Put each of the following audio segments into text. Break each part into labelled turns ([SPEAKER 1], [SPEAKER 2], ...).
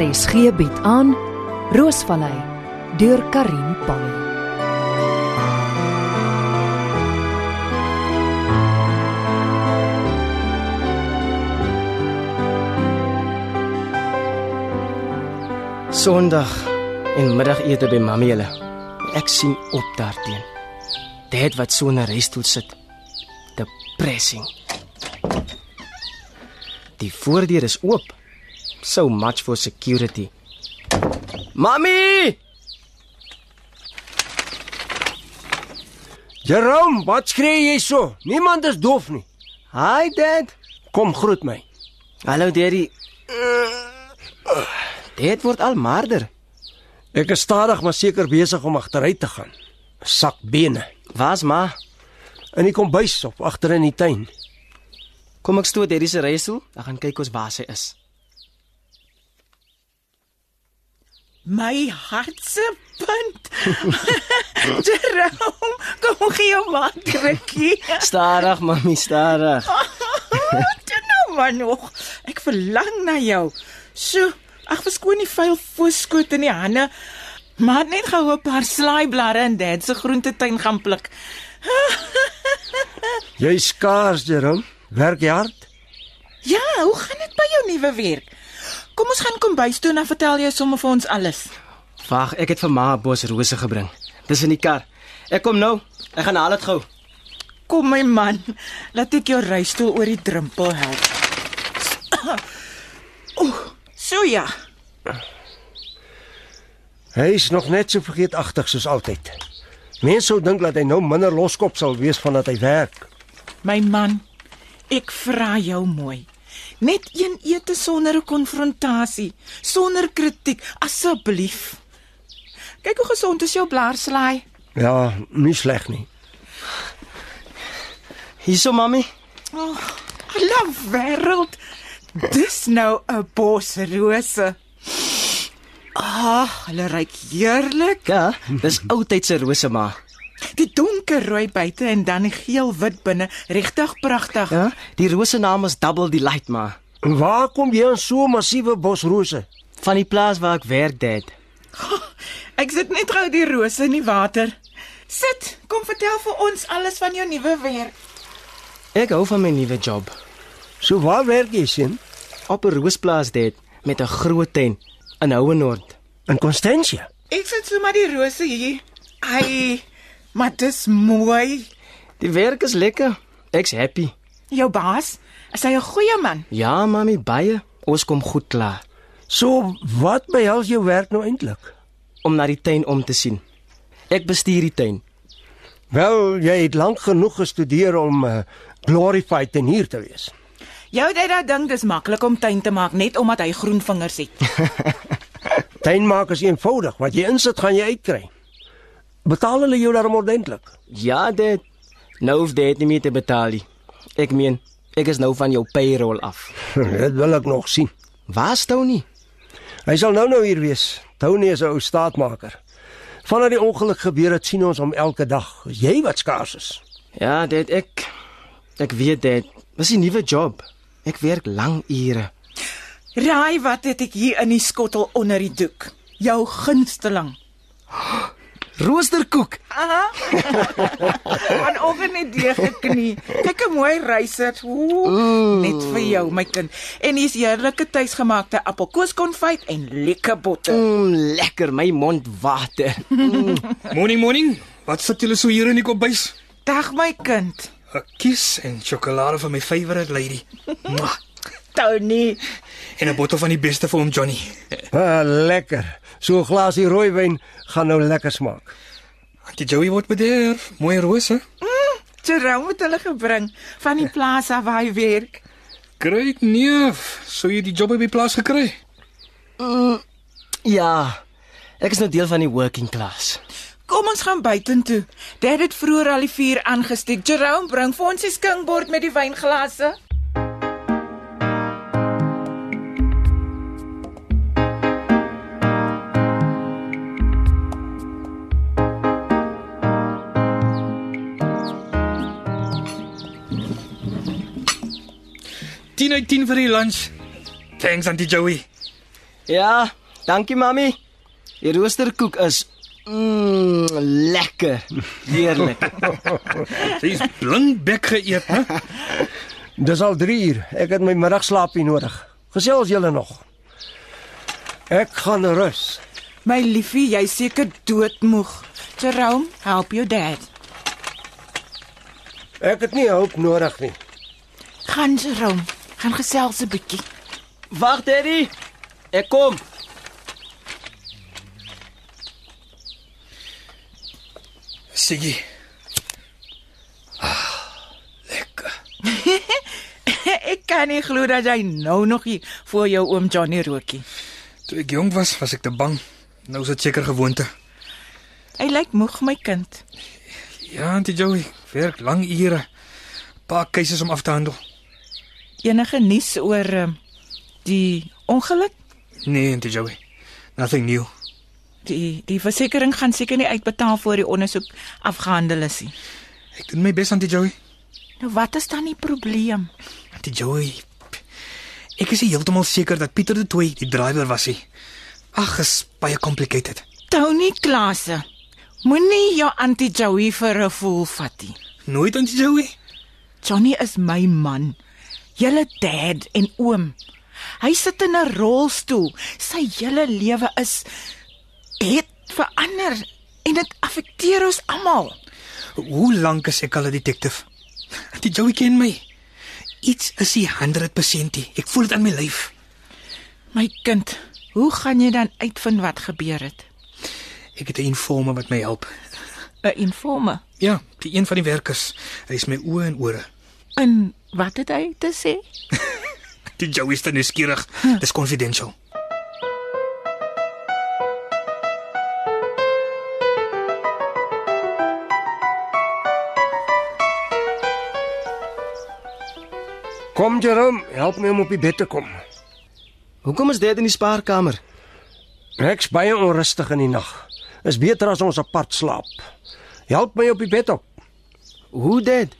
[SPEAKER 1] RSG bied aan Roosvallei deur Karin Pan.
[SPEAKER 2] Sondag en middagete by Mamy hulle. Ek sien op daarteen. Dit wat so 'n resstoel sit. Depressing. Die voordeur is oop. So much for security. Mamy!
[SPEAKER 3] Jerome, wat skree jy so? Niemand is doof nie.
[SPEAKER 2] Hi dad.
[SPEAKER 3] Kom groet my.
[SPEAKER 2] Hallo daddy. Dit word al maarder.
[SPEAKER 3] Ek is stadig maar seker besig om agteruit te gaan. Sak bene
[SPEAKER 2] Waar's ma?
[SPEAKER 3] in die kombuis op agter in die tuin.
[SPEAKER 2] Kom ek stoot daddy se resstoel. Dan gaan kyk ons waar sy is.
[SPEAKER 4] My hart se punt. Jerome, kom gee jou maat rukkie.
[SPEAKER 2] Stadig, mami, stadig.
[SPEAKER 4] Doen nou maar nog. Ek verlang na jou. So, ag verskoon die vuil voorskoot in die hande. Maar net gou 'n paar slaaiblare in Dad se groentetuin gaan pluk.
[SPEAKER 3] Jy skaars, Jerome. Werk jy hard?
[SPEAKER 4] Ja, hoe gaan dit by jou nuwe werk? Kom ons gaan kom bys toe en dan vertel jy sommer vir ons alles.
[SPEAKER 2] Wag, ek het vir ma 'n bos rose gebring. Dis in die kar. Ek kom nou. Ek gaan haal dit gou.
[SPEAKER 4] Kom my man, laat ek jou reistoel oor die drempel help. Oeh, so ja.
[SPEAKER 3] Hy is nog net so vergeetagtig soos altyd. Mense sou dink dat hy nou minder loskop sal wees vandat hy werk.
[SPEAKER 4] My man, ek vra jou mooi. Net een ete sonder 'n konfrontasie, sonder kritiek, asseblief. Kyk hoe gesond is jou blaarslaai.
[SPEAKER 3] Ja, nie sleg nie.
[SPEAKER 2] Hierso, mami.
[SPEAKER 4] Oh, la wêreld. Dis nou 'n bos rose. Ah, hulle ruik heerlik.
[SPEAKER 2] Ja, dis oudtyd se rose ma.
[SPEAKER 4] Die donker rooi buite en dan die geel wit binne, regtig pragtig.
[SPEAKER 2] Ja, die rose naam is Double Delight ma.
[SPEAKER 3] En waar kom jy aan so 'n massiewe bos rose?
[SPEAKER 2] Van die plaas waar ek werk, dad.
[SPEAKER 4] Ek sit net gou die rose in die water. Sit, kom vertel vir ons alles van jou nuwe werk.
[SPEAKER 2] Ek hou van my nuwe job.
[SPEAKER 3] So waar werk jy, sien?
[SPEAKER 2] Op 'n roosplaas, dad, met 'n groot tuin in Houenoord.
[SPEAKER 3] In Constantia.
[SPEAKER 4] Ek sit so maar die rose hier. Ai, maar dis mooi.
[SPEAKER 2] Die werk is lekker. Ek's happy.
[SPEAKER 4] Jou baas, is hy 'n goeie man?
[SPEAKER 2] Ja, mami, baie. Ons kom goed klaar
[SPEAKER 3] So wat behels jou werk nou eintlik?
[SPEAKER 2] om na die tuin om te sien. Ek bestuur die tuin.
[SPEAKER 3] Wel, jy het lank genoeg gestudeer om uh, glorified en hier te wees.
[SPEAKER 4] Jou dadda dink dis maklik om tuin te maak net omdat hy groen vingers het.
[SPEAKER 3] Tuinmaak is eenvoudig, wat jy insit gaan jy uitkry. Betaal hulle jou daarom ordentlik.
[SPEAKER 2] Ja, dad. Nou hoef dad nie meer te betaal nie. Ek meen, ek is nou van jou payroll af.
[SPEAKER 3] Dit wil ek nog sien.
[SPEAKER 2] Waar stou nie?
[SPEAKER 3] Hy sal nou nou hier wees. Tony is 'n ou staatmaker. Vanaf die ongeluk gebeur het sien ons hom elke dag. Is Jy wat skaars is.
[SPEAKER 2] Ja, dit ek ek weet dit. Dis 'n nuwe job. Ek werk lang ure.
[SPEAKER 4] Raai wat het ek hier in die skottel onder die doek? Jou gunsteling.
[SPEAKER 2] Roosterkoek.
[SPEAKER 4] Aha. Vanoggend het deeg geknie. Kyk 'n mooi reiser. Ooh, net vir jou, my kind. En hier's heerlike tuisgemaakte appelkoeskonfyt en lekker botter.
[SPEAKER 2] Mm, lekker, my mond water.
[SPEAKER 5] Morning morning. Wat sit julle so hier in die kombuis?
[SPEAKER 4] Dag my kind.
[SPEAKER 5] 'n Kies en sjokolade vir my favourite lady. Mwah.
[SPEAKER 4] Tony,
[SPEAKER 5] En 'n bottel van die beste vir hom Johnny.
[SPEAKER 3] Ah, lekker. So 'n glasie rooiwyn gaan nou lekker smaak.
[SPEAKER 5] Auntie Joey word bederf. Mooi rose.
[SPEAKER 4] Jerome het hulle gebring van die plaas af waar hy werk.
[SPEAKER 5] Great neef. So jy die job by die plaas gekry.
[SPEAKER 2] Ja. Ek is nou deel van die working class.
[SPEAKER 4] Kom ons gaan buitentoe. Dad het vroeër al die vuur aangesteek. Jerome, bring vir ons die skinkbord met die wynglase.
[SPEAKER 5] Tien uit 10 vir die lunch. Thanks Auntie Joey.
[SPEAKER 2] Ja, dankie mami. Die roosterkoek is mm, lekker. Heerlik.
[SPEAKER 5] Sy's blinkbek geëet, hè?
[SPEAKER 3] Dis al 3 uur. Ek het my middagslaapie nodig. Gesels julle nog. Ek gaan rus.
[SPEAKER 4] My liefie, jy is seker doodmoeg. Jerome, help jou dad.
[SPEAKER 3] Ek het nie hulp nodig nie.
[SPEAKER 4] Gaan Jerome, gaan gesels 'n bietjie.
[SPEAKER 2] Wag, Daddy. Ek kom.
[SPEAKER 5] Siggy. Ah, lekker.
[SPEAKER 4] ek kan nie glo dat jy nou nog hier voor jou oom Johnny rookie.
[SPEAKER 5] Toe ek jonk was, was ek te bang. Nou is dit seker gewoonte.
[SPEAKER 4] Hy lyk moeg my kind.
[SPEAKER 5] Ja, Auntie Joey, werk lang ure. 'n Paar keuses om af te handel.
[SPEAKER 4] Enige nuus oor ehm, die ongeluk?
[SPEAKER 5] Nee, Auntie Joey. Nothing new.
[SPEAKER 4] Die die versekering gaan seker nie uitbetaal voor die ondersoek afgehandel is nie.
[SPEAKER 5] Ek doen my bes, Auntie Joey.
[SPEAKER 4] Nou wat is dan die probleem?
[SPEAKER 5] Auntie Joey. Ek is nie heeltemal seker dat Pieter de Tooy die drywer was nie. Ag, is baie complicated.
[SPEAKER 4] Tony Klase. Moenie jou antie Joey vir 'n fool vat nie.
[SPEAKER 5] Nooit Auntie Joey.
[SPEAKER 4] Johnny is my man. Julle dad en oom. Hy sit in 'n rolstoel. Sy hele lewe is het verander en dit affekteer ons almal.
[SPEAKER 5] Hoe lank is ek al 'n detektief? Die Joey ken my. Iets is nie 100% nie. Ek voel dit aan my lyf.
[SPEAKER 4] My kind, hoe gaan jy dan uitvind wat gebeur het?
[SPEAKER 5] Ek het 'n informer wat my help.
[SPEAKER 4] 'n Informe.
[SPEAKER 5] Ja, die een van die werkers. Hy is my oë en ore.
[SPEAKER 4] En wat het hy te sê?
[SPEAKER 5] Die Joey is dan nuuskierig. Dis confidential.
[SPEAKER 3] Kom Jerome, help my om op die bed te kom.
[SPEAKER 2] Hoekom is dit in die spaarkamer?
[SPEAKER 3] Ek's baie onrustig in die nag. Is beter as ons apart slaap. Help my op die bed op.
[SPEAKER 2] Hoe dit?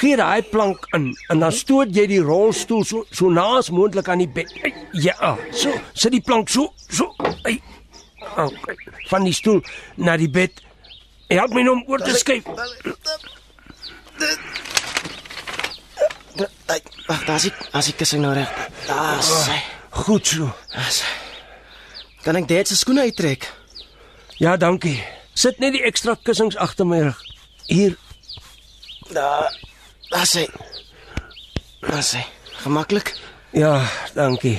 [SPEAKER 3] Gee daai plank in en dan stoot jy die rolstoel so so naas moontlik aan die bed. Ai, Ja, so sit die plank so so. Ai. Okay. Van die stoel na die bed. Help my nou om oor te skuif.
[SPEAKER 2] Wag, daar's ek. As ek kussing nou reg. Daar's hy.
[SPEAKER 3] Goed so.
[SPEAKER 2] Daar's hy. Kan ek dit se skoene uittrek?
[SPEAKER 3] Ja, dankie. Sit net die ekstra kussings agter my rug. Hier.
[SPEAKER 2] Daar. Daar's hy. Daar's hy. Gemaklik.
[SPEAKER 3] Ja, dankie.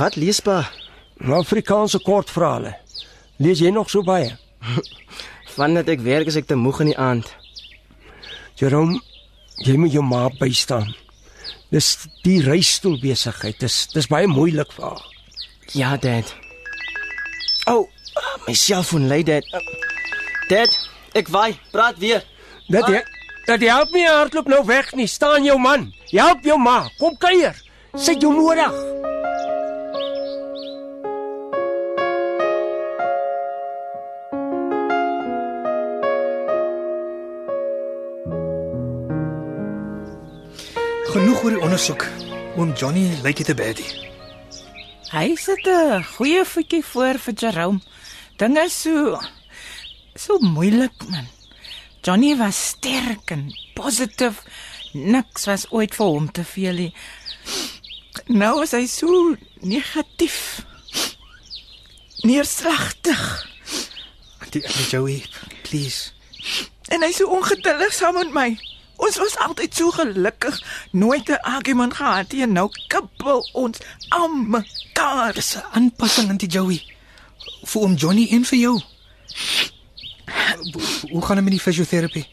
[SPEAKER 2] Wat leesbaar
[SPEAKER 3] Afrikaanse kortverhale. Lees jy nog so baie?
[SPEAKER 2] Vandat ek werk is ek te moeg in die aand.
[SPEAKER 3] Jerome, jy moet jou ma bystaan. Dis die reistoel besigheid. Dis dis baie moeilik vir haar.
[SPEAKER 2] Ja, Dad. O, oh, my selfoon lei Dad. Dad, ek waai. Praat weer.
[SPEAKER 3] Dat jy dat jy help my hardloop nou weg nie. Staan jou man. Jy help jou ma. Kom kuier. Sy het jou nodig.
[SPEAKER 5] Genoeg oor die ondersoek. Oom Johnny lyk dit te badie.
[SPEAKER 4] Hy sit 'n goeie voetjie voor vir Jerome. Dinge is so so moeilik man. Johnny was sterk en positief. Niks was ooit vir hom te veel nie. Nou is hy so negatief. Neerslagtig
[SPEAKER 5] Die, die Joey, please.
[SPEAKER 4] en hy's so ongeduldig saam met my. Ons was altyd so gelukkig, nooit 'n argument gehad nie en nou kibbel ons aan mekaar.
[SPEAKER 5] Dis 'n aanpassing aan die Joey. Vir oom Johnny en vir jou. Hoe gaan dit met die fisioterapie?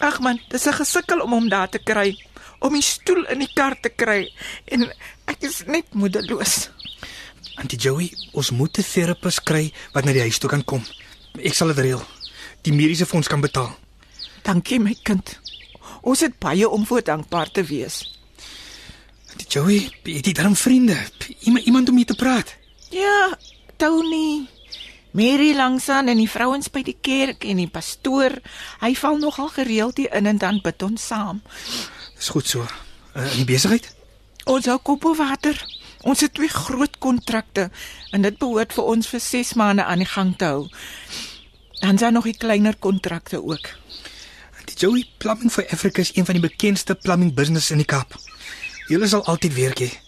[SPEAKER 4] Ag man, dis 'n gesukkel om hom daar te kry, om die stoel in die kar te kry en ek is net moedeloos.
[SPEAKER 5] Auntie Joey, ons moet 'n terapeut kry wat na die huis toe kan kom. Ek sal dit reël. Die mediese fonds kan betaal.
[SPEAKER 4] Dankie my kind. Ons het baie om voor dankbaar te wees.
[SPEAKER 5] Auntie Joey, het jy darm vriende? Iemand iemand om mee te praat?
[SPEAKER 4] Ja, Tony, Mary langsaan en die vrouens by die kerk en die pastoor, hy val nogal gereeld hier in en dan bid ons saam.
[SPEAKER 5] Dis goed so. Uh, in die besigheid?
[SPEAKER 4] Ons hou koppe water. Ons het twee groot kontrakte en dit behoort vir ons vir 6 maande aan die gang te hou. Dan is daar nog die kleiner kontrakte ook.
[SPEAKER 5] Die Joey Plumbing for Africa is een van die bekendste plumbing businesses in die Kaap. Julle sal altyd werk hê.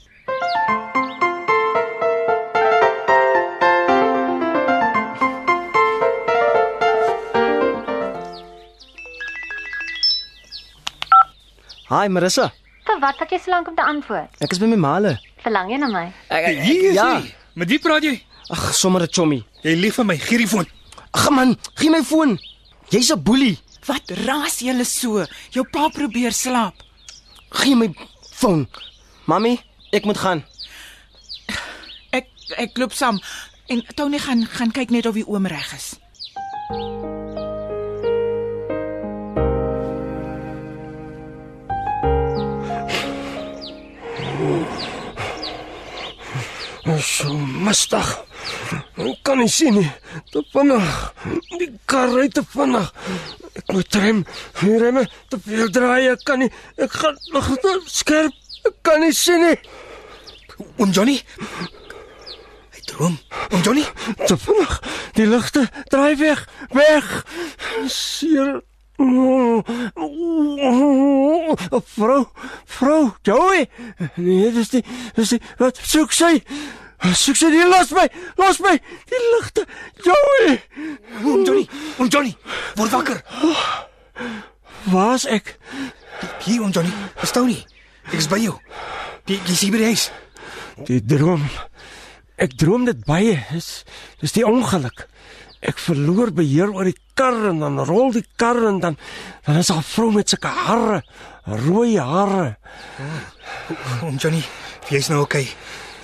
[SPEAKER 2] Hi Marissa.
[SPEAKER 6] Vir wat vat jy so lank om te antwoord?
[SPEAKER 2] Ek is by my maale.
[SPEAKER 6] Verlang jy na my?
[SPEAKER 2] Ek, ek,
[SPEAKER 5] Hier is
[SPEAKER 2] ja.
[SPEAKER 5] hy. Met wie praat jy?
[SPEAKER 2] Ag, sommer 'n chommy.
[SPEAKER 5] Jy lief vir my, gee die foon.
[SPEAKER 2] Ag man, gee my foon. Jy's 'n boelie.
[SPEAKER 4] Wat raas julle so? Jou pa probeer slaap.
[SPEAKER 2] Gee my foon. Mamy, ek moet gaan.
[SPEAKER 4] Ek ek loop saam en Tony gaan gaan kyk net of die oom reg is.
[SPEAKER 3] So mistig. Ek kan nie sien nie. Te vinnig. Die kar ry te vinnig. Ek moet rem. Die remme te veel draai. Ek kan nie. Ek gaan nog te skerp. Ek kan nie sien nie.
[SPEAKER 5] Oom Um Johnny. Hy droom. Oom Um Johnny,
[SPEAKER 3] Te vinnig. Die ligte draai weg. Weg. Seer. Oh, oh, oh, vrou, vrou, Joey. Nee, dis die, dis die, wat soek sy? Soek sy, die, los my, los my. Die ligte, Joey.
[SPEAKER 5] oom um Johnny, oom Johnny, word wakker.
[SPEAKER 3] Waar's ek?
[SPEAKER 5] Hier oom Johnny, verstou nie. Ek is by jou. Die die Siberiërs.
[SPEAKER 3] Die droom. Ek droom dit baie. Dis dis die ongeluk. Ek verloor beheer oor die kar en dan rol die kar en dan dan is daar 'n vrou met sulke hare, rooi hare.
[SPEAKER 5] Oom Um Johnny, jy's nou okay.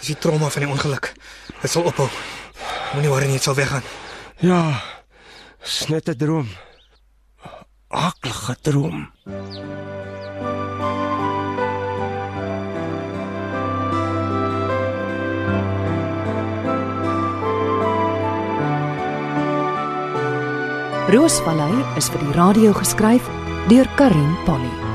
[SPEAKER 5] Dis die trauma van die ongeluk. Dit sal ophou. Moenie worry nie, dit sal weggaan.
[SPEAKER 3] Ja. Dis net 'n droom. Aklige droom.
[SPEAKER 1] Roosvallei is vir die radio geskryf deur Karin Polly.